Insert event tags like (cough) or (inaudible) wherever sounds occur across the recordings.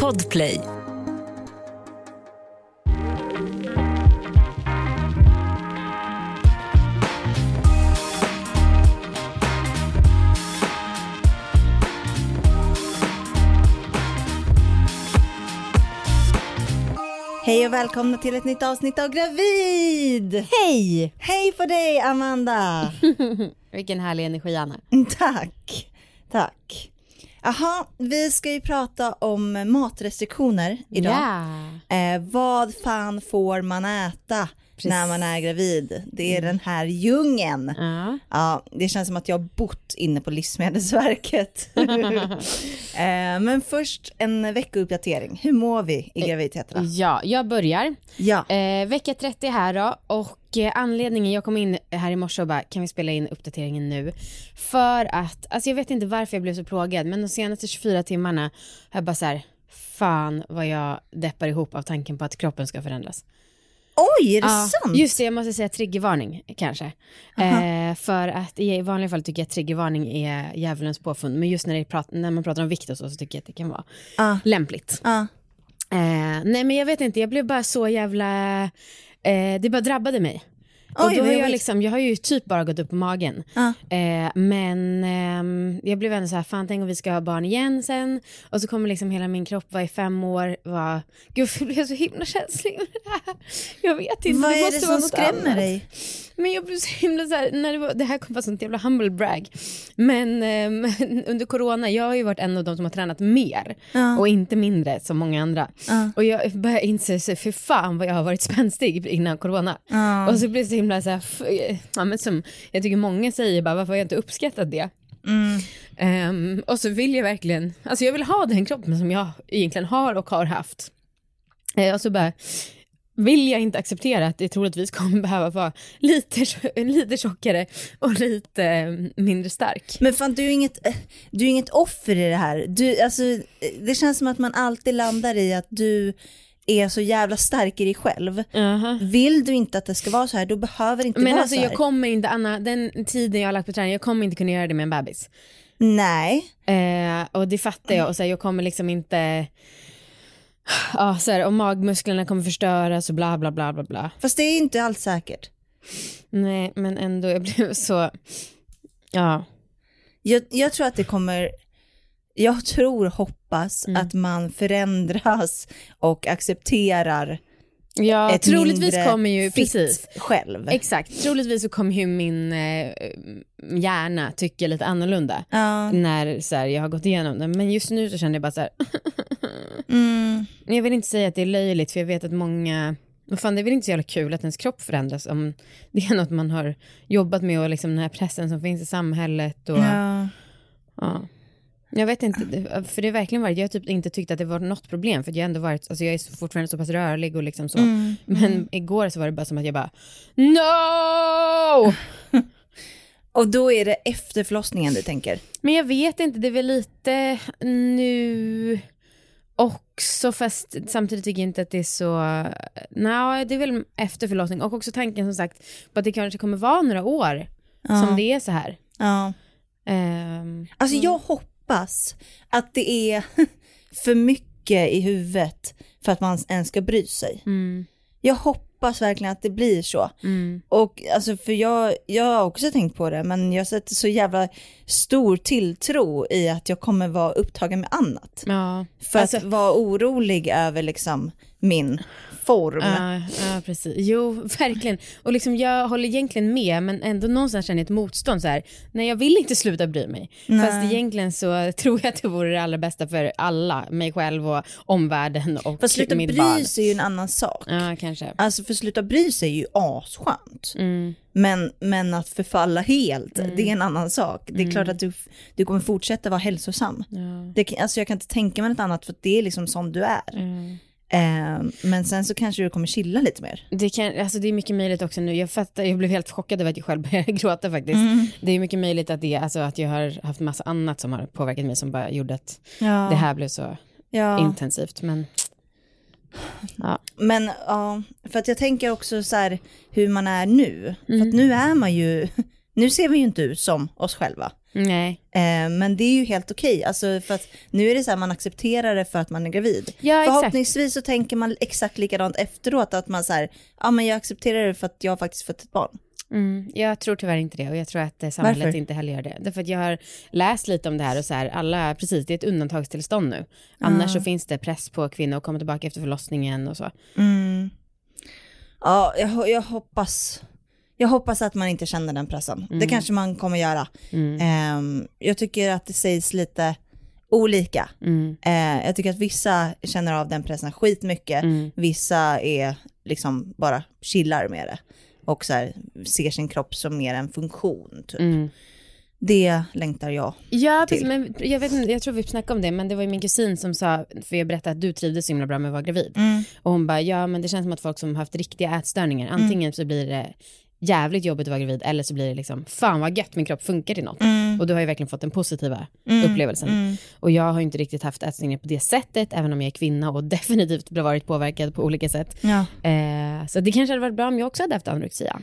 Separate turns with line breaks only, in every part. Podplay.
Hej och välkomna till ett nytt avsnitt av Gravid!
Hej!
Hej på dig Amanda!
(laughs) Vilken härlig energi Anna.
(laughs) Tack, tack. Jaha, vi ska ju prata om matrestriktioner idag.
Ja.
Eh, vad fan får man äta när man är gravid? Det är
Mm.
den här djungeln.
Ja.
Ja, det känns som att jag har bott inne på
(laughs)
Livsmedelsverket. eh, men först en veckouppdatering. Hur mår vi
Eh,
i graviditeterna?
ja, jag börjar.
Ja,
Eh, vecka 30 här då och eh, anledningen, jag kom in här i morse och bara kan vi spela in uppdateringen nu? För att, alltså jag vet inte varför jag blev så plågad men de senaste 24 timmarna har jag bara så här, fan vad jag deppar ihop av tanken på att kroppen ska förändras.
oj är det
Ja,
sant?
Just det, jag måste säga triggervarning kanske. Eh, för att i vanliga fall tycker jag att triggervarning är djävulens påfund, men just när, det prat- när man pratar om vikt och så, så tycker jag att det kan vara
Ja.
lämpligt.
Ja.
Eh, nej men jag vet inte, jag blev bara så jävla, eh, det bara drabbade mig.
Oj,
och då
vad
har jag,
jobbigt.
liksom, jag har ju typ bara gått upp på magen.
Ja.
Eh, men ehm, jag blev ändå så här, fan tänk om vi ska ha barn igen sen. Och så kommer liksom hela min kropp vara i fem år. Vara, Gud jag blev så himla känslig med det här. Jag vet inte,
Vad
det
är
måste
det som
vara något
skrämmer
annat.
dig?
Men jag blev så himla så här, när det, var, det här kommer vara sånt jävla humble brag. Men ehm, (laughs) under corona, jag har ju varit en av de som har tränat mer
Ja.
och inte mindre som många andra.
Ja.
Och jag börjar inse, så, för fan vad jag har varit (laughs) spänstig innan corona.
Ja.
Och så blir det så himla så här, f- ja, men som jag tycker många säger bara, varför har jag inte uppskattat det?
Mm.
Ehm, och så vill jag verkligen, alltså jag vill ha den kroppen som jag egentligen har och har haft. Eh, och så bara, vill jag inte acceptera att det troligtvis kommer behöva vara lite, tjo- lite tjockare och lite eh, mindre stark.
Men fan du är ju inget, eh, du är inget offer i det här. Du, alltså, eh, det känns som att man alltid landar i att du är så jävla stark i dig själv. Vill du inte att det ska vara så här, då behöver det inte
Men
vara
alltså
så här.
jag kommer inte, Anna, den tiden jag har lagt på träning, jag kommer inte kunna göra det med en bebis.
Nej,
Eh, och det fattar jag och så här, jag kommer liksom inte, ja så här, och magmusklerna kommer förstöras och bla bla bla bla bla.
fast det är inte alls säkert.
Nej men ändå, jag blev så, ja.
Jag, jag tror att det kommer, jag tror, hoppas
Mm.
att man förändras och accepterar
Ja,
ett
troligtvis
mindre
kommer ju,
fit
precis.
själv.
Exakt, troligtvis så kommer ju min eh, hjärna tycka lite annorlunda
ja,
när så här, jag har gått igenom det. Men just nu så känner jag bara så här, "Ah,
mm,
jag vill inte säga att det är löjligt för jag vet att många, vad fan det är väl inte så jävla kul att ens kropp förändras om (laughs) det är något man har jobbat med och liksom den här pressen som finns i samhället och ja.
ja.
Jag vet inte, det- för det har verkligen varit, jag har typ inte tyckt att det var något problem för att jag har ändå varit, alltså jag är så- fortfarande så pass rörlig och liksom så.
Mm.
Men igår så var det bara som att jag bara NO!
Och då är det efter förlossningen du tänker?
Men jag vet inte, det är väl lite nu också fast samtidigt tycker jag inte att det är så, nej det är väl efter förlossning och också tanken som sagt på att det kanske kommer vara några år som det är så här.
Ja.
Ehm,
Alltså jag hoppas att det är (laughs) för mycket i huvudet för att man ens ska bry sig.
mm,
Jag hoppas verkligen att det blir så.
mm.
Och alltså för jag, jag har också tänkt på det, men jag sätter så jävla stor tilltro i att jag kommer vara upptagen med annat.
Ja,
För att
Alltså-
vara orolig över liksom min form.
ja, ja, precis. Jo, (laughs) verkligen. Och liksom, jag håller egentligen med, men ändå någonstans känner jag ett motstånd. Så här. Nej, jag vill inte sluta bry mig.
Nej.
Fast egentligen så (laughs) tror jag att det vore det allra bästa för alla, mig själv och omvärlden och
Fast sluta
mitt
bry
barn.
sig är ju en annan sak.
Ja, kanske.
Alltså för sluta bry sig är ju asskönt.
Mm.
Men, men att förfalla helt, det är en annan sak. Det är klart att du, du kommer fortsätta vara hälsosam.
Ja.
Det, kan- alltså jag kan inte tänka mig något annat för att det är liksom som du är.
Mm.
Eh, men sen så kanske du kommer chilla lite mer.
Det, kan, alltså det är mycket möjligt också nu. Jag, fattar, jag blev helt chockad över att jag själv (laughs) började gråta faktiskt.
Mm.
Det är mycket möjligt att, det, alltså, att jag har haft massa annat som har påverkat mig som bara gjorde att
Ja,
det här blev så intensivt. Men ja.
Men ja, för att jag tänker också så här hur man är nu. För att nu är man ju (laughs) Nu ser vi ju inte ut som oss själva.
Nej.
Eh, men det är ju helt okej. Alltså, för att nu är det så här, man accepterar det för att man är gravid.
Ja, exakt.
Förhoppningsvis så tänker man exakt likadant efteråt, att man så här, ja men jag accepterar det för att jag har faktiskt fått ett barn.
Mm, jag tror tyvärr inte det och jag tror att eh, samhället
Varför?
inte heller gör det. Därför att jag har läst lite om det här och så här, alla, precis det är ett undantagstillstånd nu. Annars så finns det press på kvinnor att komma tillbaka efter förlossningen och så.
Mm. Ja, jag, ho- jag hoppas. Jag hoppas att man inte känner den pressen.
Mm.
Det kanske man kommer göra. Ehm, jag tycker att det sägs lite olika.
Mm,
Eh, jag tycker att vissa känner av den pressen skitmycket.
Mm.
Vissa är liksom bara chillar med det. Och så här, ser sin kropp som mer en funktion.
Mm.
Typ. Det längtar jag.
Ja, precis, men jag, vet, inte, jag tror vi snackade om det, men det var ju min kusin som sa, för jag berättade att du trivdes så himla bra med att vara gravid.
Mm,
Och hon bara, ja men det känns som att folk som har haft riktiga ätstörningar, antingen så blir det jävligt jobbigt att vara gravid eller så blir det liksom, fan vad gött min kropp funkar till något.
mm,
Och du har ju verkligen fått den positiva upplevelsen. Och jag har ju inte riktigt haft ätstörningar på det sättet, även om jag är kvinna och (laughs) definitivt varit påverkad på olika sätt.
Ja.
Eh, så det kanske hade varit bra om jag också hade haft (laughs) anorexia.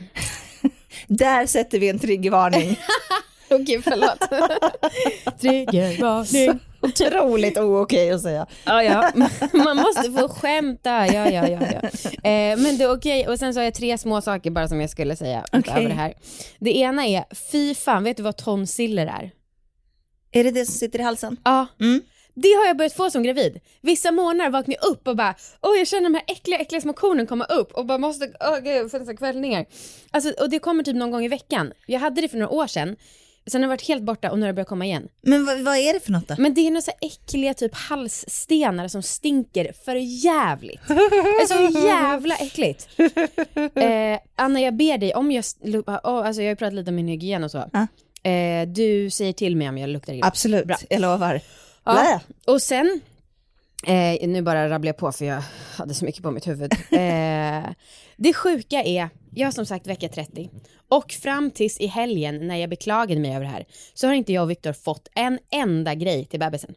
Där sätter vi en (laughs) triggervarning.
Okej, (laughs) förlåt. Triggervarning.
(laughs) Otroligt ookej att säga.
Ja, ja. (laughs) Man måste få skämta. Ja, ja, ja, ja. Eh, men det är okej. Och sen så har jag tre små saker bara som jag skulle säga
Okej.
utöver det här. Det ena är, fy fan, vet du vad tonsiller är?
Är det det som sitter i halsen?
Ja.
Mm.
Det har jag börjat få som gravid. Vissa månader vaknar jag upp och bara, åh jag känner de här äckliga, äckliga små kornen komma upp och bara måste, åh gud, sen så kvällningar. Alltså, och det kommer typ någon gång i veckan. Jag hade det för några år sedan, sen har det varit helt borta och nu har det börjat komma igen.
Men vad, vad är det för något då?
Men det är några så här äckliga typ halsstenar som stinker för jävligt. Det är så
(laughs)
jävla äckligt. Eh, Anna, jag ber dig om jag... lu- ah, ah, alltså jag har ju pratat lite om min hygien och så.
Ja.
Eh, du säger till mig om jag luktar illa.
Absolut,
Bra.
jag lovar.
Ja.
Blä.
Och sen, eh, nu bara rabblar jag på för jag hade så mycket på
(laughs)
mitt huvud. Eh, det sjuka är, jag har som sagt vecka 30 och fram tills i helgen när jag beklagade mig över det här så har inte jag och Viktor fått en enda grej till bebisen.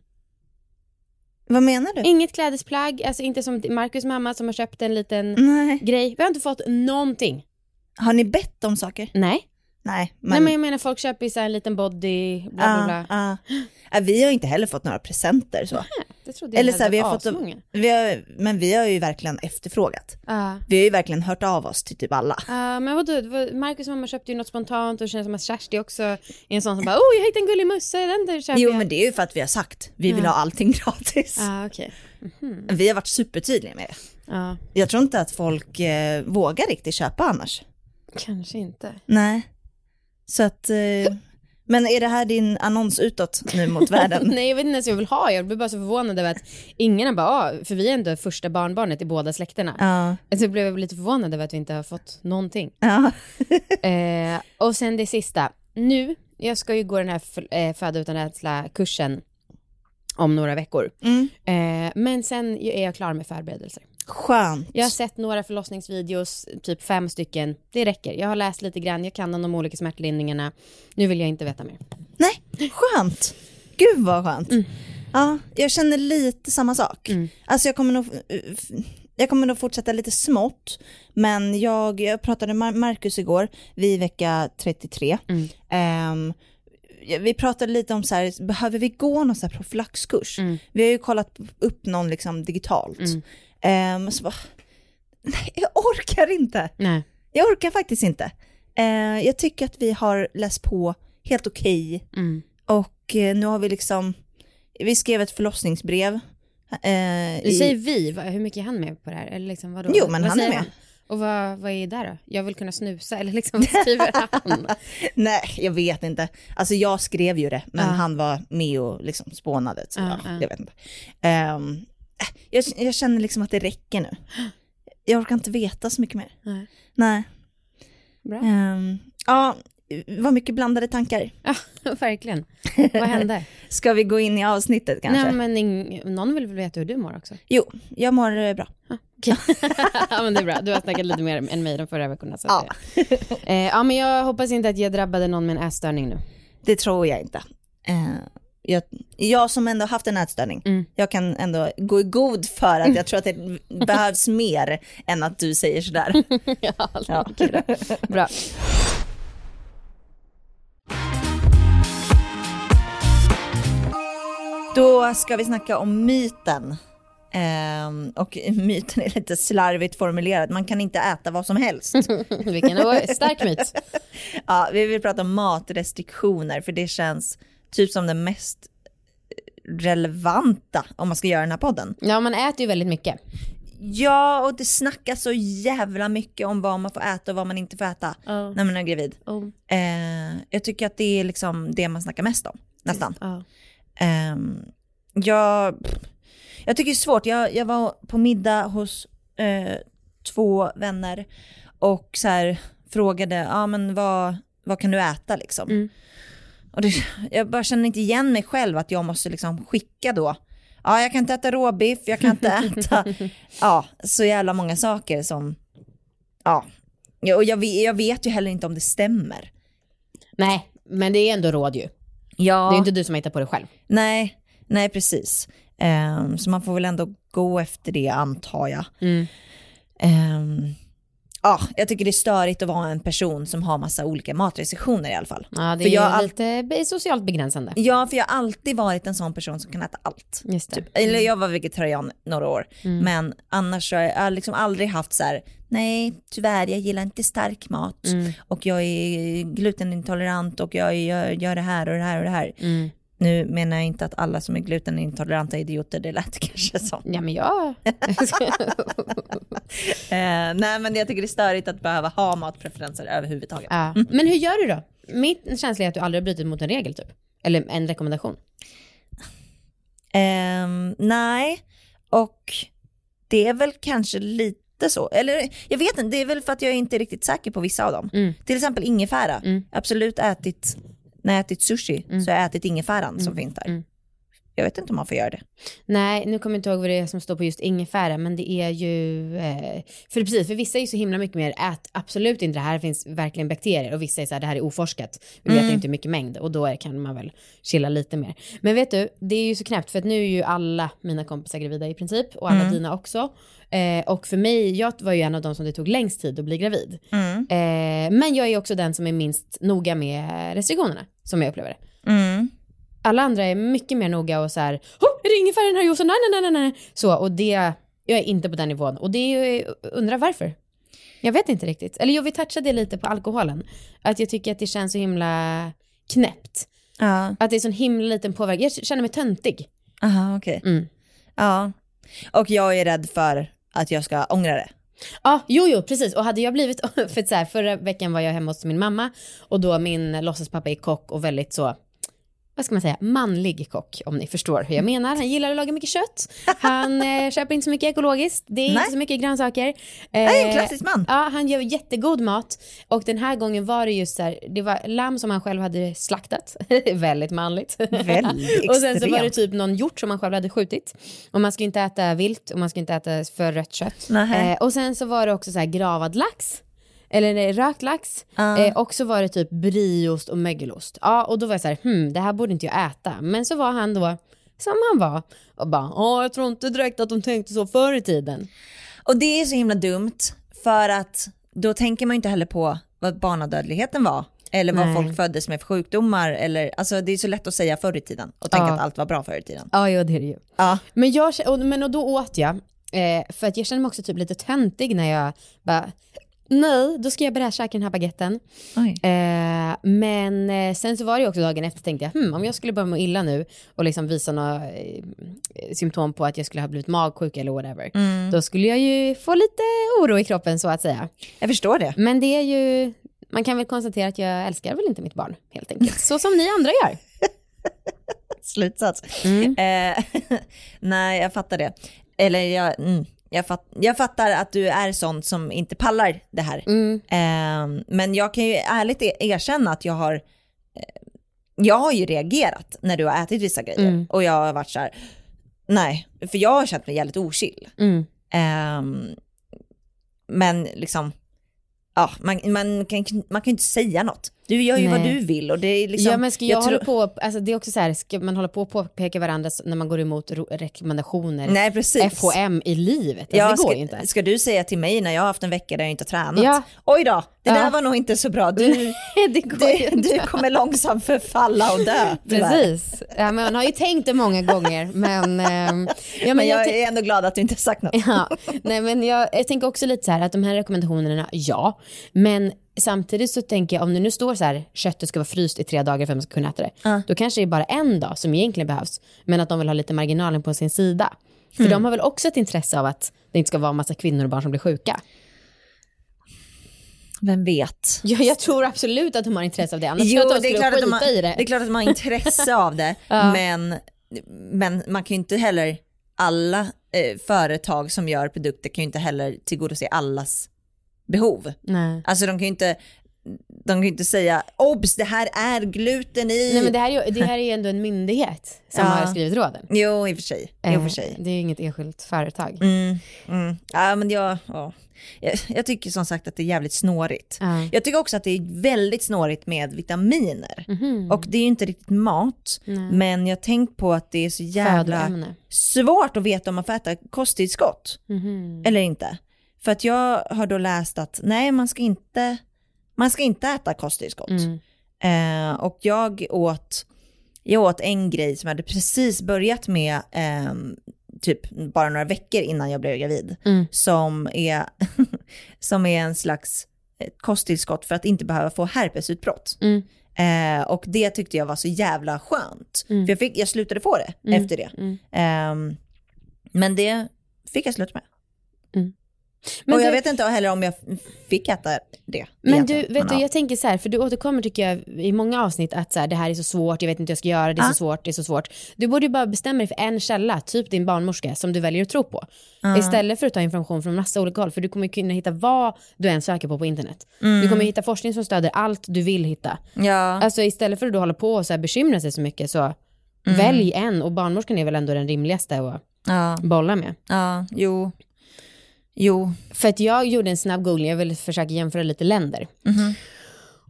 Vad menar du?
Inget klädesplagg, alltså inte som Marcus mamma som har köpt en liten
Nej.
grej. Vi har inte fått någonting.
Har ni bett om saker?
Nej.
Nej. Men...
Nej men jag menar folk köper ju så här en liten body, bla bla
Ah,
bla.
ah. Ah, vi har inte heller fått några presenter så.
Det trodde jag
Eller så här,
hade
vi har fått,
asmånga.
vi har, men vi har ju verkligen efterfrågat.
Ja.
Vi har ju verkligen hört av oss till typ alla.
Ja, men vadå, det var- Marcus mamma köpte ju något spontant och det känns som att Kersti också är en sån som bara oh jag hittade en gullig mössa, den där köper
Jo
jag.
men det är ju för att vi har sagt, vi vill
Ja.
ha allting (laughs) gratis.
Ja, okej.
Vi har varit supertydliga med det.
Ja,
Jag tror inte att folk eh, vågar riktigt köpa annars.
kanske inte.
Nej. Så att, eh, men är det här din annons utåt nu mot världen?
(laughs) Nej jag vet inte ens vad jag vill ha, jag blir bara så förvånad över att ingen har bara, ah, för vi är ändå första barnbarnet i båda släkterna.
Ja.
Så jag blev lite förvånad över att vi inte har fått
(laughs)
någonting.
Ja.
Eh, och sen det sista. Nu, jag ska ju gå den här f- eh, föda utan rädsla-kursen om några veckor.
Mm.
Eh, men sen ju- är jag klar med förberedelser.
Skönt.
Jag har sett några förlossningsvideos, typ fem stycken. Det räcker. Jag har läst lite grann, jag kan om de olika smärtlindringarna. Nu vill jag inte veta mer.
Nej, skönt. Gud vad skönt. Ja, jag känner lite samma sak. Alltså jag kommer nog... eh, f- Jag kommer nog fortsätta lite smått, men jag, jag pratade med Mar- Marcus igår, vi är i vecka 33. Ehm, ja, vi pratade lite om så här, behöver vi gå någon så här profylaxkurs? Vi har ju kollat upp någon liksom digitalt.
Mm.
Ehm, så bara, nej, jag orkar inte.
Nej.
Jag orkar faktiskt inte. Eh, jag tycker att vi har läst på helt okej och eh, nu har vi liksom, vi skrev ett förlossningsbrev. Eh,
Du
i-
säger vi, va- hur mycket är han med på det här? Eller liksom, vadå?
Jo, men
vad
han är
säger
med.
Och vad, vad är det där då? Jag vill kunna snusa, eller liksom vad skriver
(laughs)
han? (laughs)
Nej, jag vet inte. Alltså jag skrev ju det, men
Ja.
han var med och liksom spånade. Så
Ja,
ja,
ja.
Jag vet inte. Ehm, äh, jag, jag känner liksom att det räcker nu. Jag orkar inte veta så mycket mer.
Nej.
Nej.
Bra.
Ehm, ja, vad mycket blandade tankar.
Ja, verkligen. Vad hände?
Ska vi gå in i avsnittet (laughs) kanske?
Nej, men ing- någon vill väl veta hur du mår också?
(laughs) Jo, jag mår eh, bra.
ja men det är bra, du har snackat lite mer än mig de förra veckorna. Så
Ja.
ja. Eh, ja men jag hoppas inte att jag drabbade någon med en
(laughs)
ätstörning nu.
Det tror jag inte. Eh, jag, jag som ändå haft en ätstörning, jag kan ändå gå i god för att jag tror att det behövs mer än att du säger sådär.
ja. Bra.
Då ska vi snacka om myten. Ehm, och (laughs) myten är lite slarvigt formulerad. Man kan inte äta vad som helst.
Vilken o- stark myt.
ja, vi vill prata om matrestriktioner för det känns typ som det mest eh, relevanta om man ska göra den här podden.
Ja, man äter ju väldigt mycket.
Ja, och det snackas så jävla mycket om vad man får äta och vad man inte får äta när man är gravid.
oh,
Eh, jag tycker att det är liksom det man snackar mest om, nästan. Ehm, jag, jag tycker det är svårt. Jag, jag var på middag hos eh, två vänner och så här, frågade, ja ah, men vad, vad kan du äta liksom?
Mm.
Och det, jag bara känner inte igen mig själv att jag måste liksom skicka då. Ja, jag kan inte äta råbiff, jag kan inte äta, ja, så jävla många saker som, ja. Ja, och jag, ve- jag vet ju heller inte om det stämmer.
Nej, men det är ändå råd ju.
Ja.
Det är ju inte du som har hittat på det själv.
Nej, nej precis. Ehm, så man får väl ändå gå efter det antar jag.
Mm.
Ehm, Ja, jag tycker det är störigt att vara en person som har massa olika matrestriktioner i alla fall.
Ja, det
För
är
jag har
ju lite be- socialt begränsande.
Ja, för jag har alltid varit en sån person som kan äta allt.
Just det.
Eller jag var vegetarian några år,
Mm.
men annars har jag- jag har liksom aldrig haft så här, nej tyvärr jag gillar inte stark mat
Mm.
och jag är glutenintolerant och jag gör, gör det här och det här och det här.
Mm.
Nu menar jag inte att alla som är glutenintoleranta är idioter, det lät (laughs) kanske som.
Ja, men jag...
Eh, nej men jag tycker det är störigt att behöva ha matpreferenser överhuvudtaget.
(laughs) ja. Mm. Men hur gör du då? Min känsla är att du aldrig har brutit mot en regel typ. Eller en rekommendation.
Ehm, nej, och det är väl kanske lite så. Eller jag vet inte, det är väl för att jag är inte är riktigt säker på vissa av dem.
Mm.
Till exempel ingefära.
Mm.
Absolut ätit, när jag ätit sushi så har jag ätit ingefäran som finns där.
Mm.
Jag vet inte om man får göra det.
Nej, nu kommer jag inte ihåg vad det är som står på just ingefära, men det är ju... Eh, för precis, för vissa är ju så himla mycket mer, ät absolut inte det här, det finns verkligen bakterier. Och vissa är så här, det här är oforskat, vi vet inte hur mycket mängd. Och då är, kan man väl chilla lite mer. Men vet du, det är ju så knäppt, för att nu är ju alla mina kompisar gravida i princip, och alla dina också. Eh, och för mig, jag var ju en av de som det tog längst tid att bli gravid. Eh, men jag är också den som är minst noga med restriktionerna, som jag upplever det.
Mm.
Alla andra är mycket mer noga och så här, "Hopp, är det ingefära i den här juicen? Nej, nej, nej, nej, nej. Så, och det, jag är inte på den nivån. Och det är ju, undrar varför. Jag vet inte riktigt. Eller jo, vi touchade lite på alkoholen. Att jag tycker att det känns så himla knäppt.
Ja,
Att det är sån himla liten påverkan. Jag känner mig töntig.
aha, okej.
Mm.
Ja. Och jag är rädd för att jag ska ångra det.
Ja, jo, jo, precis. Och hade jag blivit, (laughs) för att så här, förra veckan var jag hemma hos min mamma och då min låtsaspappa är kock och väldigt så, vad ska man säga, manlig kock om ni förstår hur jag menar. Han gillar att laga mycket kött, han eh, köper inte så mycket ekologiskt, det är
Nej.
inte så mycket grönsaker.
Jag är
Eh,
en klassisk
(laughs)
man.
Ja, han gör jättegod mat. Och den här gången var det just så här, det var lamm som han själv hade slaktat. (laughs) Väldigt manligt.
Väldigt
och sen så var det
extremt.
typ någon hjort som han själv hade skjutit. Och man ska inte äta vilt och man ska inte äta för rött kött.
Nähä.
Eh, och sen så var det också så här gravad lax. Eller nej, rökt lax.
Ah.
Eh, och så var det typ brieost och mögelost. Ja, och då var jag så här, hmm, det här borde inte jag äta. Men så var han då som han var och bara, ja, jag tror inte direkt att de tänkte så förr i tiden.
Och det är så himla dumt för att då tänker man ju inte heller på vad barnadödligheten var eller vad
Nej.
folk föddes med för sjukdomar eller alltså det är så lätt att säga förr i tiden och tänka
Ja.
att allt var bra förr i tiden.
Ja, ja, det är det ju.
Ja.
Men, jag, och, men och då åt jag, eh, för att jag kände mig också typ lite töntig när jag bara, nej, då ska jag börja käka den här baguetten.
Oj.
Eh, men eh, sen så var det ju också dagen efter tänkte jag, hmm, om jag skulle börja må illa nu och liksom visa några eh, symptom på att jag skulle ha blivit magsjuk eller whatever,
Mm.
då skulle jag ju få lite oro i kroppen så att säga.
Jag förstår
(laughs)
det.
Men det är ju, man kan väl konstatera att jag älskar väl inte mitt barn helt enkelt, så som ni andra gör.
Slutsats. Eh, (laughs) nej, jag fattar det. Eller jag, mm, jag, fat, jag fattar att du är sån som inte pallar det här.
Mm,
Eh, men jag kan ju ärligt e- erkänna att jag har eh, jag har ju reagerat när du har ätit vissa grejer
Mm.
och jag har varit så här, nej, för jag har känt mig jävligt ochill.
Mm.
Ehm, men liksom, ja, man, man, kan, man kan ju inte säga något. Du gör ju vad
Nej.
du vill och det är liksom...
ja men ska jag, hålla
tror-
på, alltså det är också så här, ska man hålla på och påpeka varandra s- när man går emot ro- rekommendationer,
Nej precis.
FHM i livet, alltså
Ja,
det går
ska,
ju inte.
ska du säga till mig när jag har haft en vecka där jag inte har tränat?
Ja.
Oj då, det
Ja.
där var nog inte så bra. Du,
(laughs) det går
du, du kommer långsamt förfalla och dö. tyvärr.
Precis, ja, men man har ju tänkt det många gånger men... ehm, ja,
Men jag
tänk-
är ändå glad att du inte har sagt
(laughs)
något.
Ja, nej men jag, jag tänker också lite så här att de här rekommendationerna, ja. Men samtidigt så tänker jag om det nu står så här köttet ska vara fryst i tre dagar för att man ska kunna äta det. Då kanske det är bara en dag som egentligen behövs. Men att de vill ha lite marginalen på sin sida. För
Mm.
de har väl också ett intresse av att det inte ska vara en massa kvinnor och barn som blir sjuka.
Vem vet?
Ja, jag tror absolut att de har intresse av det. Annars tror
Jo,
jag att
det
de
är, klart
skulle
att de
skita
har,
i
det är
det.
klart att de har intresse av
(laughs)
det, men, men man kan ju inte heller, alla eh, företag som gör produkter kan ju inte heller tillgodose allas behov.
Nej.
Alltså de kan ju inte, de kan ju inte säga obs det här är gluten i.
Nej, men det här, är ju, det här är ju ändå en myndighet som
Ja.
har skrivit råden.
Jo i och för sig. Jo, i och för
Eh,
sig.
Det är ju inget enskilt företag.
Mm, mm. Ja, men jag, ja. jag, jag tycker som sagt att det är jävligt snårigt.
Ja.
Jag tycker också att det är väldigt snårigt med vitaminer.
Mhm.
Och det är ju inte riktigt mat,
Nej.
men jag har tänkt på att det är så jävla
Födoämne.
svårt att veta om man får äta kosttillskott
Mhm.
eller inte. För att jag har då läst att nej, man ska inte, man ska inte äta kosttillskott.
Mm.
Eh, och jag åt, jag åt en grej som jag hade precis börjat med ehm, typ bara några veckor innan jag blev gravid.
Mm.
Som, är, (laughs) som är en slags eh, kosttillskott för att inte behöva få herpesutbrott.
Mm.
Eh, och det tyckte jag var så jävla skönt.
Mm.
För jag, fick, jag slutade få det
Mm.
efter det.
Mm.
Ehm, men det fick jag sluta med.
Men
och jag
du-
vet inte heller om jag f- fick äta det.
Men du,
egentligen.
vet du,
ja.
jag tänker så här, för du återkommer tycker jag i många avsnitt att så här, det här är så svårt, jag vet inte hur jag ska göra, det är
Ja.
så svårt, det är så svårt. Du borde ju bara bestämma dig för en källa, typ din barnmorska, som du väljer att tro på. Istället för att ta information från massa olika håll, för du kommer ju kunna hitta vad du än söker på på internet. Du kommer ju hitta forskning som stöder allt du vill hitta.
Mm. ja.
Alltså istället för att då hålla på och så här bekymra sig så mycket så välj en och barnmorskan är väl ändå den rimligaste att
ja.
bolla med.
Ja, jo. Jo.
För att jag gjorde en snabb googling, jag ville försöka jämföra lite länder.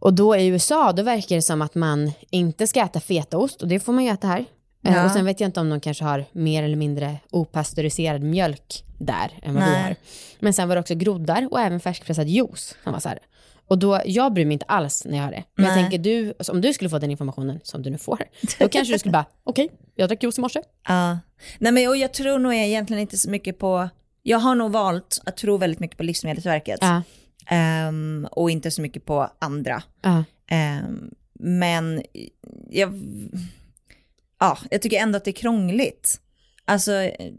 Och då i USA, då verkar det som att man inte ska äta fetaost och det får man ju äta här. Eh,
Ja.
Och sen vet jag inte om de kanske har mer eller mindre opastöriserad mjölk där än vad vi
Nej.
har. Men sen var det också groddar och även färskpressad juice. Som var så här. Och då, jag bryr mig inte alls när jag har det. Men jag
Nej.
tänker du, alltså, om du skulle få den informationen som du nu får, då kanske du skulle bara, (laughs) okej, jag drack juice i morse.
Ja. Nej, men, och jag tror nog jag egentligen inte så mycket på, jag har nog valt att tro väldigt mycket på Livsmedelsverket
Ja,
ehm, och inte så mycket på andra.
ja,
Ehm, men jag, ja, jag tycker ändå att det är krångligt. Alltså, eh,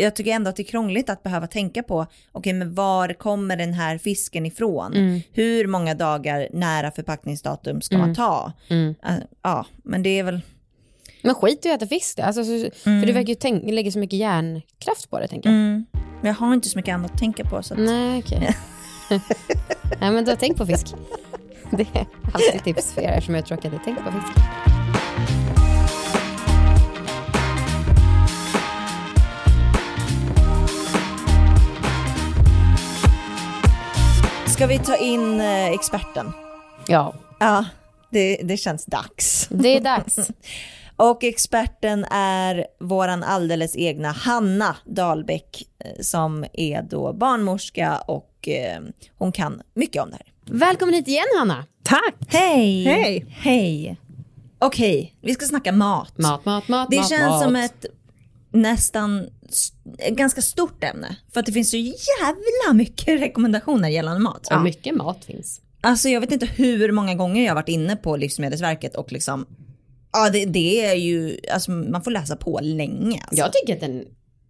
jag tycker ändå att det är krångligt att behöva tänka på, okej men var kommer den här fisken ifrån?
Mm.
Hur många dagar nära förpackningsdatum ska man ta?
mm.
Eh, Ja, men det är väl,
Men skit i att äta fisk då. Alltså, så, För du verkar ju tänk- lägga så mycket hjärnkraft på det tänker jag.
Mm. Men jag har inte så mycket annat att tänka på. Så att...
Nej, okej. Nej, men då tänk på fisk. Det är alltid tips för er eftersom jag är tråkig. Tänk på fisk.
Ska vi ta in eh, experten?
Ja,
Ja, det, det känns dags.
det är dags.
Och experten är våran alldeles egna Hanna Dahlbäck eh, som är då barnmorska och eh, hon kan mycket om det här.
Välkommen hit igen Hanna.
Tack!
Hej!
Hej.
Hej! Okej, vi ska snacka mat.
Mat, mat, mat,
Det
mat,
känns
mat.
som ett nästan s- ett ganska stort ämne för att det finns så jävla mycket (laughs) rekommendationer gällande mat.
Ja. Mycket mat finns.
Alltså jag vet inte hur många gånger jag har varit inne på Livsmedelsverket och liksom, ja det, det är ju, alltså man får läsa på länge. Alltså.
Jag tycker att den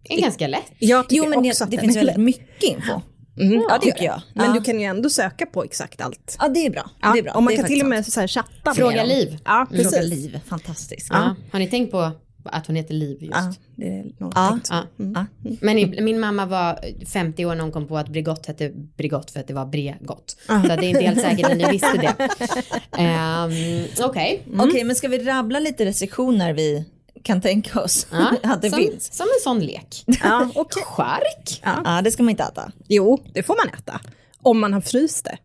är ganska lätt.
Jag tycker
jo men
också
det,
att
det
den
finns
är
väldigt
lätt.
mycket info.
Mm,
Ja,
det gör
tycker jag.
(laughs) Men
Ja.
du kan ju ändå söka på exakt allt.
Ja det är bra. det är bra.
Och man
det är
kan till och
faktiskt
med så här chatta
Fråga
med dem.
Liv.
Ja,
sant.
precis.
Fråga Liv, fantastiskt.
Mm.
Ja. Har ni tänkt på att hon heter Liv just?
Ja, det är nog
Ja.
tänkt.
Ja.
Ja.
Men i- min mamma var 50 år när hon kom på att Brigott hette Brigott för att det var Bregott. Så det är inte helt säkert att ni visste det. Ehm, Okej.
Okej men ska vi rabbla lite restriktioner vi kan tänka oss
(laughs)
Ja,
(laughs) att det
som,
finns?
som en sån lek.
Ja, okej.
Skärk?
Ja det ska man inte äta. Ah.
Jo, det får man äta. Om man har fryst det.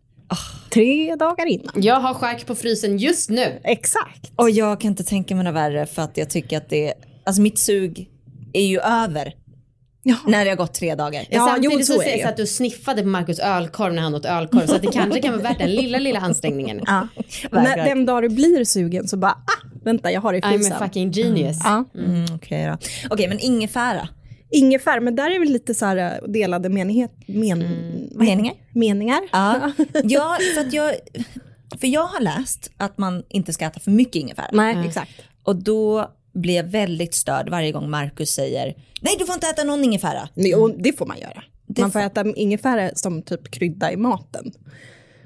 tre dagar innan.
Jag har skärk på frysen just nu.
Exakt.
Och jag kan inte tänka mig något värre för att jag tycker att det, alltså mitt sug är ju över
Ja.
när det har gått tre dagar.
Ja,
Samtidigt
jo, så
så
är det
sägs
ju.
att du sniffade på Markus ölkorv när han åt ölkorv så att det kanske kan vara värt den lilla, lilla ansträngningen.
(laughs) Ja.
Verkligen.
När, den dag du blir sugen så bara, ah, vänta jag har det i
I'm
frysen.
a fucking genius.
Ja.
Mm, Okej då. Okej, men ingefära.
Ingefär, men där är väl lite så här eh, delade menighet, men,
Meningar?
meningar.
Mm. Ja,
(laughs)
ja för, att jag, för jag har läst att man inte ska äta för mycket ingefära.
Nej, exakt.
Och då blir jag väldigt störd varje gång Markus säger nej du får inte äta någon ingefära.
Nej, och det får man göra.
Det
man får
får-
äta ingefära som typ krydda i maten.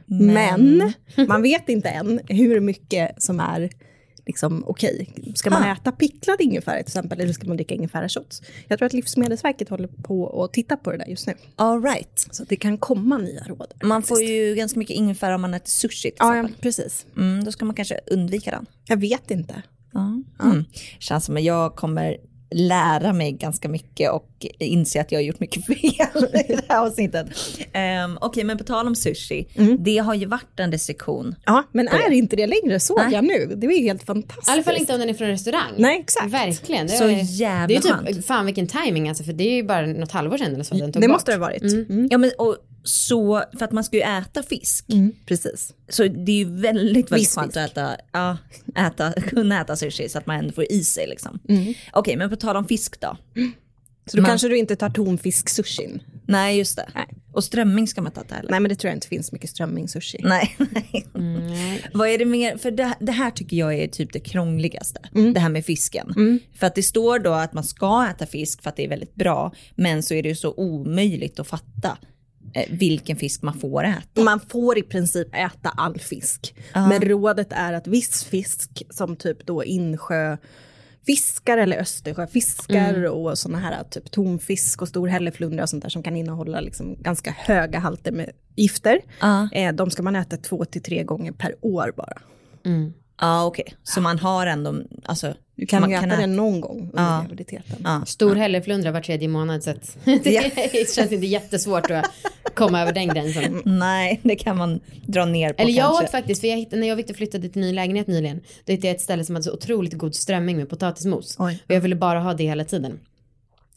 Men man vet inte än hur mycket som är liksom, okej. Ska man
Ha.
äta picklad ingefära till exempel eller ska man dricka ingefärashots? Jag tror att Livsmedelsverket håller på och tittar på det där just nu.
All right.
Så det kan komma nya råd.
Man får ju ganska mycket ingefära om man äter sushi till
Ja,
exempel.
ja, precis.
Mm, då ska man kanske undvika den.
Jag vet inte.
Mm. Känns som att jag kommer lära mig ganska mycket och inse att jag har gjort mycket (laughs) fel i det här avsnittet. Um, Okej, men på tal om sushi,
Mm.
det har ju varit en restriktion.
Ja, men är inte det längre såg
Nej.
jag nu. Det var ju helt
I
fantastiskt.
alla fall inte om den är från restaurang.
Nej, exakt.
Verkligen. Det
Så
är-
jävla
Det är typ,
skönt.
fan vilken timing alltså för det är ju bara något halvår sedan eller så den tog
Det
bort.
måste det ha varit. Mm.
Ja, men och så, för att man ska ju äta fisk.
Mm.
Precis.
Så det är ju väldigt, väldigt
Viss
skönt
fisk.
att äta, ja, äta, (laughs) kunna äta sushi så att man ändå får i sig liksom.
Mm.
Okej, men på tal om fisk då.
Så då
Man-
kanske du inte tar tonfisk-sushin.
Nej, just det.
Nej.
Och strömming ska man inte äta heller.
Nej, men det tror jag inte finns mycket strömming-sushi.
(laughs) Nej. nej. Vad är det mer? För det, det här tycker jag är typ det krångligaste.
Mm.
Det här med fisken. För att det står då att man ska äta fisk för att det är väldigt bra. Men så är det ju så omöjligt att fatta eh, vilken fisk man får äta.
Man får i princip äta all fisk. Men rådet är att viss fisk som typ då insjöfiskar eller östersjöfiskar
Mm.
och sådana här typ tonfisk och stor hälleflundra och sånt där som kan innehålla liksom ganska höga halter med gifter.
Ja.
Eh, de ska man äta två till tre gånger per år bara.
Mm.
Ja okej. Så man har ändå, alltså.
Du kan
man
ju äta
ä-
den någon gång under graviditeten.
Ja.
Stor hälleflundra var tredje månad så att (laughs) det känns inte jättesvårt tror jag, att komma över den gränsen.
Nej, det kan man dra ner på
Eller jag
kanske.
åt faktiskt, för jag hittade, när jag och Victor flyttade till ny lägenhet nyligen, då hittade jag ett ställe som hade så otroligt god strömming med potatismos.
Oj.
Och jag ville bara ha det hela tiden.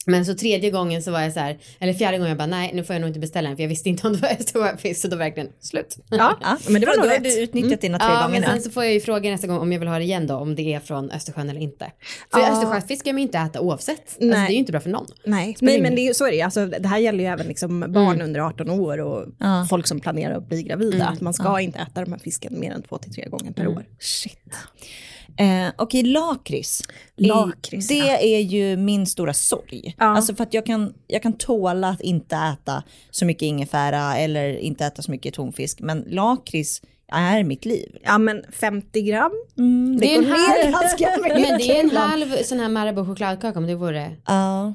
Men så tredje gången så var jag så här, eller fjärde gången jag bara nej nu får jag nog inte beställa den för jag visste inte om det var östersjöfisk så då verkligen slut.
Ja,
Ja,
men det var
Bra,
nog
då
rätt.
har
Mm.
du utnyttjat dina tre
Ja
gånger
men
nu.
sen så får jag ju fråga nästa gång om jag vill ha det igen då om det är från Östersjön eller inte. För
Ja.
Östersjöfisk ska man ju inte äta oavsett. Alltså, det
Nej.
är ju inte bra för någon.
Nej,
Spelar
men,
ingen
men det, är ju- så är det ju. Alltså, det här gäller ju även liksom barn under 18 år och folk som planerar att bli gravida. Att man ska inte äta de här fisken mer än två till tre gånger per år.
Shit. Eh, Okej, lakrits.
Lakrits,
Det
ja.
är ju min stora sorg.
Ja.
Alltså för att jag kan, jag kan tåla att inte äta så mycket ingefära eller inte äta så mycket tonfisk. Men lakrits är mitt liv.
Ja, men 50 gram. Mm,
Det, är
går
en halv,
(laughs)
ner ganska mycket
men det är en
ibland.
halv sån här Marabou chokladkaka om det vore.
Ja.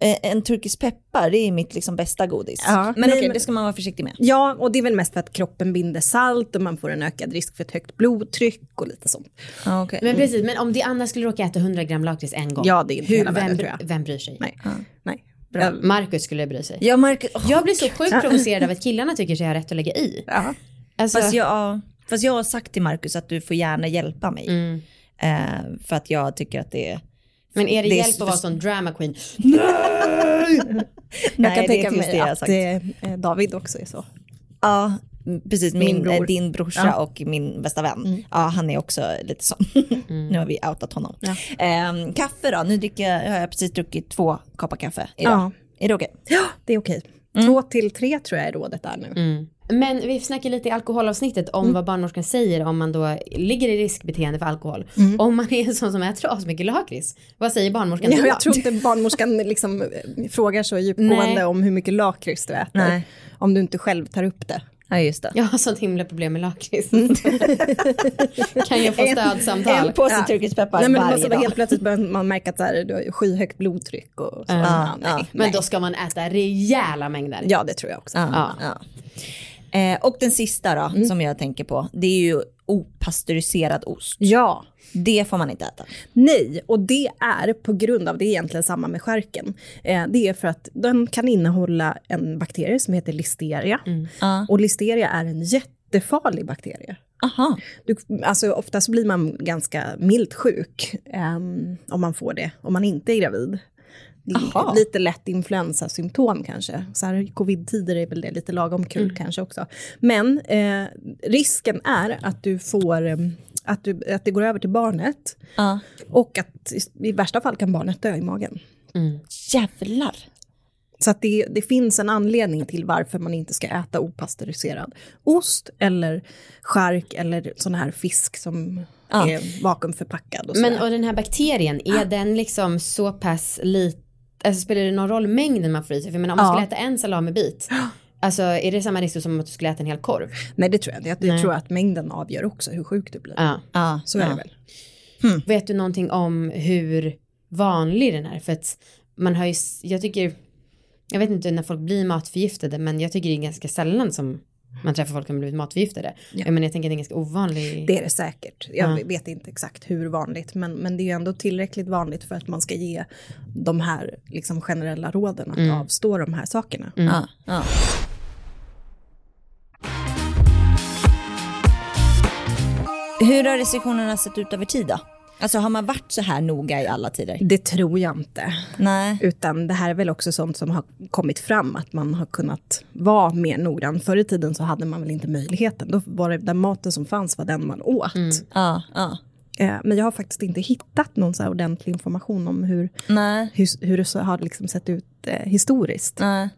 Eh, en turkisk peppar, det är mitt liksom bästa godis.
Ja.
Men
Nej,
okej,
men-
det ska man vara försiktig med.
Ja, och det är väl mest för att kroppen binder salt och man får en ökad risk för ett högt blodtryck och lite sånt.
Ja, okej.
Men precis, men om det annars skulle råka äta 100 gram lakrits en gång.
Ja, det är inte hela världen,
vem,
tror jag.
vem bryr sig?
Nej, nej.
Bra. Marcus skulle bry sig.
Jag märker... åh,
Jag blir så sjukt provocerad av att killarna tycker sig ha rätt att lägga i.
Ja.
Alltså,
Fast jag, ja, fast jag har sagt till Markus att du får gärna hjälpa mig.
Mm.
Eh, för att jag tycker att det är...
mm. men är det,
det är
hjälp att
så-
vara sån drama queen?
Jag kan tänka
precis
mig
jag har
att
sagt.
eh, David också är så.
Ja, m- precis. Min,
Min bror. Mm.
eh, Din brorsa och min bästa vän. Ja, han är också lite sån. (laughs) nu har vi outat honom. Ehm, kaffe då? Nu dricker jag, har jag precis druckit två koppar kaffe idag.
Ja.
Är det okej?
Ja, det är okej. Två till tre tror jag är rådet är nu.
Mm. Men vi snackar lite i alkoholavsnittet
Mm.
om vad barnmorskan säger om man då ligger i riskbeteende för alkohol.
Mm.
Om man är en sån som äter asmycket lakrits, vad säger barnmorskan
Ja,
då?
jag tror inte barnmorskan liksom eh, frågar så djupgående
Nej.
om hur mycket lakrits du äter.
Nej.
Om du inte själv tar upp det.
Ja, just det.
Jag har sånt himla problem med lakrits. (laughs) kan jag få stödsamtal?
Mm. En påse
Ja.
turkispeppar
Nej, men alltså, det måste
varje
vara
dag.
helt plötsligt börjar man märka att så här, du har ju skyhögt blodtryck och så. Ja, nej,
ja.
Men
nej.
då ska man äta rejäla mängder.
ja, det tror jag också.
Ja. ja. Eh, och den sista då,
Mm.
som jag tänker på, det är ju opastöriserad ost.
Ja,
Det får man inte äta.
nej, och det är på grund av, det är egentligen samma med skärken. Eh, det är för att den kan innehålla en bakterie som heter listeria. Och listeria är en jätte jättefarlig bakterie.
Aha.
Du, alltså oftast blir man ganska milt sjuk ehm, om man får det, om man inte är gravid. Det är
Aha.
Lite lätt influensasymptom kanske. Så här i covid-tider är väl det lite lagom kul kanske också. Men eh, risken är att du får, ehm, att, du, att det går över till barnet
Ja.
och att i, i värsta fall kan barnet dö i magen.
Mm.
Jävlar.
Så att det, det finns en anledning till varför man inte ska äta opastöriserad ost eller skärk eller sån här fisk som
Ja.
är vakuumförpackad. Och
Men
sådär. Ah.
och den här bakterien, är den liksom så pass liten, alltså spelar det någon roll mängden man får i sig? För jag menar, om man
Ja.
skulle äta en salamibit, alltså är det samma risk som att du skulle äta en hel korv?
Nej, det tror jag inte. Jag
Nej.
tror att mängden avgör också hur sjuk du blir.
Ja.
Ja.
Så är det väl.
Mm. Vet du någonting om hur vanlig den är? För att man har ju, s- jag tycker, jag vet inte när folk blir matförgiftade men jag tycker det är ganska sällan som man träffar folk som har blivit matförgiftade.
Ja.
Jag menar jag tänker att det är en ganska ovanlig.
Det är det säkert. Jag
Ja.
vet inte exakt hur vanligt, men, men det är ju ändå tillräckligt vanligt för att man ska ge de här liksom, generella råden att
Mm.
avstå de här sakerna.
Ja. Ja. Hur har restriktionerna sett ut över tid då? Alltså har man varit så här noga i alla tider?
Det tror jag inte.
Nej.
Utan det här är väl också sånt som har kommit fram, att man har kunnat vara mer noggrann. Förr i tiden så hade man väl inte möjligheten. Då var det den maten som fanns var den man åt.
Ja, ja.
Eh, Men jag har faktiskt inte hittat någon så här ordentlig information om hur,
Nej.
hur, hur det så har liksom sett ut eh, historiskt.
Nej.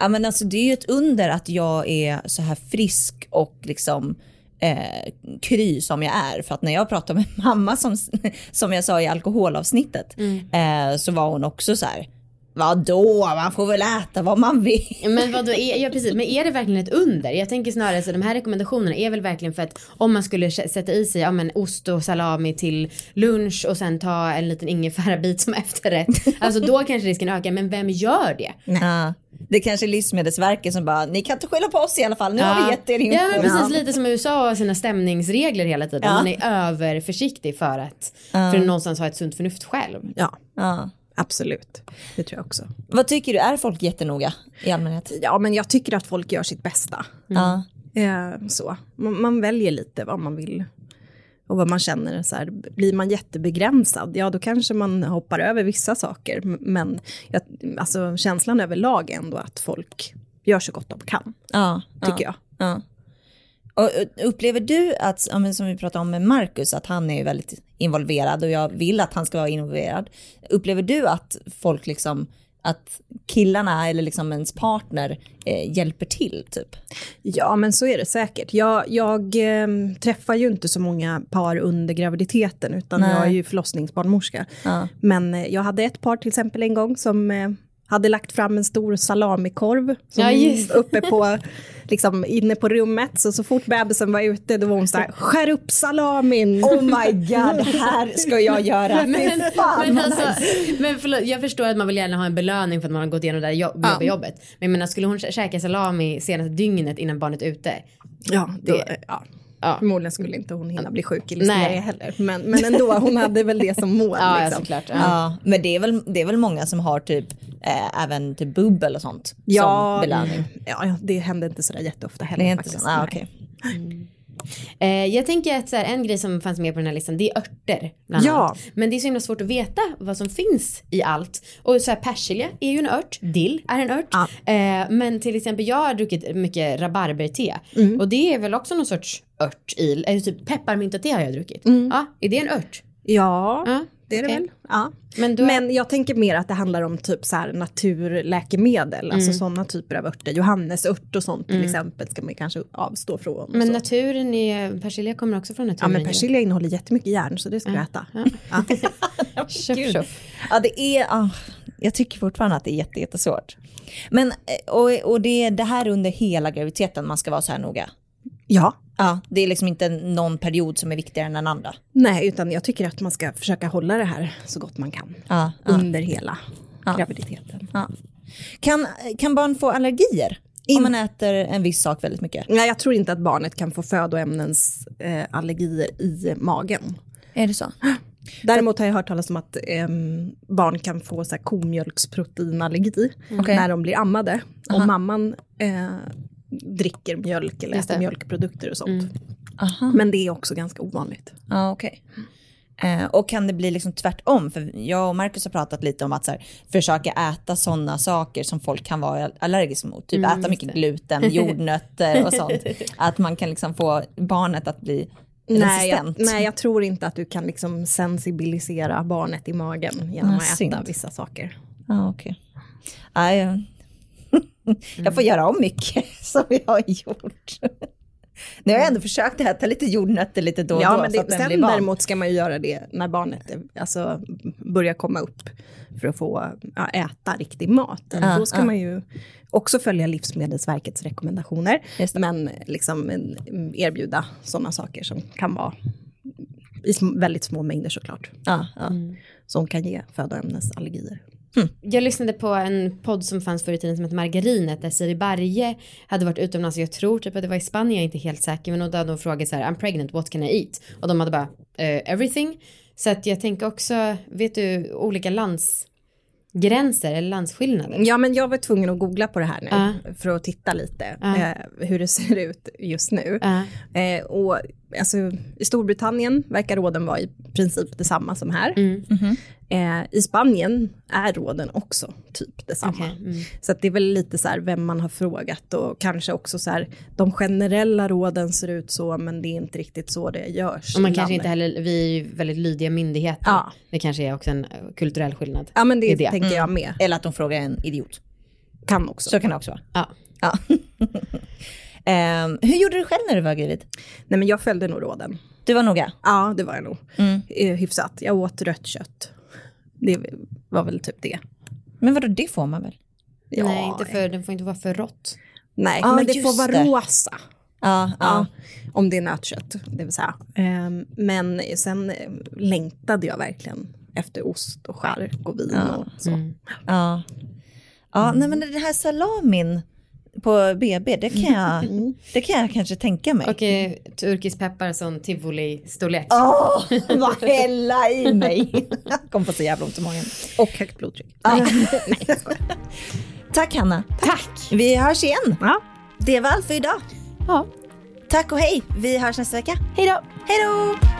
Ja, men alltså, det är ju ett under att jag är så här frisk och liksom eh, kry som jag är. För att när jag pratade med (laughs) mamma som, som jag sa i alkoholavsnittet eh, så var hon också så här, vadå man får väl äta vad man vill.
Men vadå, är, ja precis, men är det verkligen ett under? Jag tänker snarare så de här rekommendationerna är väl verkligen för att om man skulle kä- sätta i sig ja, men ost och salami till lunch och sen ta en liten ingefärabit som (laughs) efterrätt. Alltså då kanske risken ökar, men vem gör det?
Ja. Det kanske är Livsmedelsverket som bara, ni kan inte skylla på oss i alla fall, nu har
Ja.
vi gett er info.
Ja men precis, lite som USA har sina stämningsregler hela tiden.
Ja.
Man är överförsiktig för att, för att någonstans ha ett sunt förnuft själv.
Ja,
Ja.
absolut. Det tror jag också.
Vad tycker du, är folk jättenoga i allmänhet?
Ja, men jag tycker att folk gör sitt bästa.
Mm.
Ja.
Eh, så. Man, man väljer lite vad man vill och vad man känner. Så här, blir man jättebegränsad, ja då kanske man hoppar över vissa saker. M- Men jag, alltså, känslan överlag är ändå att folk gör så gott de kan,
Ja.
tycker jag.
Ja. Och och upplever du att, ja, men som vi pratade om med Marcus, att han är ju väldigt involverad och jag vill att han ska vara involverad. Upplever du att folk liksom, att killarna eller liksom ens partner eh, hjälper till typ?
Ja, men så är det säkert. Jag, jag eh, träffar ju inte så många par under graviditeten, utan
Nej.
jag är ju förlossningsbarnmorska.
Ja.
Men eh, jag hade ett par till exempel en gång som eh, hade lagt fram en stor salamikorv som
Ja,
(laughs)
just.
uppe på, liksom, inne på rummet. Så, så fort bebisen var ute, då var hon så här, skär upp
(laughs)
salamin!
Oh my god, det här ska
(laughs)
jag göra.
Men,
Fy fan
men,
vad
alltså,
nice.
men förlåt, jag förstår att man vill gärna ha en belöning för att man har gått igenom det där jobb, jobbiga jobbet. Men jag menar, skulle hon kä- käka salami senaste dygnet innan barnet är ute?
Ja, då,
Det-
ja.
Ja.
Förmodligen skulle inte hon hinna bli sjuk i
Nej.
Listeria heller. Men, men ändå, hon hade väl det som mål.
Ja, ja,
liksom.
såklart. Ja.
Ja, men det är, väl, det är väl många som har typ eh, även typ bubbel och sånt som belöning.
Ja, ja, det hände inte sådär jätteofta
Det
heller
är inte
faktiskt.
så? Ah,
Nej.
okej.
Eh, jag tänker att så här, en grej som fanns med på den här listan det är örter. Bland
Ja.
annat. Men det är så himla svårt att veta vad som finns i allt. Och så här, persilja är ju en ört, dill är en ört.
Ja.
Eh, men till exempel jag har druckit mycket rabarberte
Mm.
och det är väl också någon sorts ört i, eller typ pepparmyntete har jag druckit. Ja, är det en ört?
Ja,
Mm,
Mm.
Ja,
det är det
okej.
väl. Ja.
Men, då,
Men jag tänker mer att det handlar om typ så här naturläkemedel, alltså
Mm.
sådana typer av örter. Johannesört och sånt till exempel ska man kanske avstå från. och
men
så.
naturen är, persilja kommer också från
ja,
naturen.
men
ju.
persilja innehåller jättemycket järn så det ska jag
Mm.
äta. Ja.
(laughs)
Tjoff,
Gud.
tjoff.
Ja, det är, ah, jag tycker fortfarande att det är jätte, jättesvårt. Men, eh, och, och det är det här under hela graviditeten man ska vara så här noga.
ja.
Ja, det är liksom inte någon period som är viktigare än den andra.
Nej, utan jag tycker att man ska försöka hålla det här så gott man kan
Ja,
under hela graviditeten.
ja. Kan, kan barn få allergier om man äter en viss sak väldigt mycket?
Nej, jag tror inte att barnet kan få födoämnens eh, allergier i magen.
Är det så?
Däremot har jag hört talas om att ehm, barn kan få
Mm.
så här, komjölksproteinallergi
Okej.
när de blir ammade. Om mamman eh, dricker mjölk eller
Just
äter
det.
mjölkprodukter och sånt.
Mm.
Aha.
Men det är också ganska ovanligt.
Ja, okej. Eh, och kan det bli liksom tvärtom? För jag och Marcus har pratat lite om att så här, försöka äta sådana saker som folk kan vara allergiska mot.
Mm,
Typ äta
(laughs)
mycket gluten, jordnötter och sånt. att man kan liksom få barnet att bli
Nej jag,
resistent.
nej, jag tror inte att du kan liksom sensibilisera barnet i magen genom
Ah,
att äta
synd.
vissa saker.
Ja, okej. Nej, eh, (laughs) jag får
Mm.
göra om mycket (laughs) som jag har gjort. Nu har jag ändå försökt äta lite jordnötter lite då och
ja,
då.
men
så att
det,
den
sen
blir van.
däremot ska man ju göra det när barnet är- alltså, börjar komma upp för att få ja, äta riktig mat.
Ja,
Då ska
ja.
man ju också följa Livsmedelsverkets rekommendationer,
Just det.
men liksom mm, erbjuda sådana saker som kan vara i sm- väldigt små mängder såklart,
Ja, ja.
Mm.
som kan ge födoämnesallergier.
Jag lyssnade på en podd som fanns förr i tiden som hette Margarinet där Siri Barje hade varit utomlands, jag tror typ att det var i Spanien, jag är inte helt säker, men då hade hon frågat så här, I'm pregnant, what can I eat? Och de hade bara, "Eh, everything. Så att jag tänker också, vet du, olika landsgränser eller landsskillnader.
Ja, men jag var tvungen att googla på det här nu
Ja.
för att titta lite
Ja.
eh, hur det ser ut just nu.
Ja.
Eh, och, alltså, I Storbritannien verkar råden vara i princip detsamma som här.
Mm.
Eh, I Spanien är råden också typ detsamma.
Okej, mm.
Så att det är väl lite så här vem man har frågat och kanske också så här de generella råden ser ut så men det är inte riktigt så det görs.
Och man
i
kanske inte
landet.
heller, vi är ju väldigt lydiga myndigheter.
Ja.
Det kanske är också en eh, kulturell skillnad.
Ja men det,
det. Mm.
tänker jag med.
Eller att de frågar en idiot.
Kan också.
Så kan det också vara.
Ja.
Ja. Ehm, hur gjorde du själv när du var gravid?
Nej men jag följde nog råden.
Du var noga?
Ja det var jag nog.
Mm.
Eh, Hyfsat. Jag åt rött kött. Det var väl typ det.
Men vadå, det får man väl?
Ja,
Nej, inte för, den får inte vara för rått.
Nej,
Ah,
men det
just
får vara
det.
rosa.
Ja,
Ja, om det är nötkött, det vill säga. Ehm, Men sen eh, längtade jag verkligen efter ost och charkvin och så.
ja. ja nej, men det här salamin på BB, det kan (laughs) jag, det kan jag kanske tänka mig.
Och eh, turkisk peppar som tivoli-storlek.
(laughs) Åh, vad hälla i mig! (laughs) Jag kom på så jävla ont i magen.
Och högt blodtryck.
Tack Hanna. Tack. Vi hörs igen.
Ja.
Det var allt för idag.
Ja.
Tack och hej. Vi hörs nästa vecka.
Hej då!
Hej då!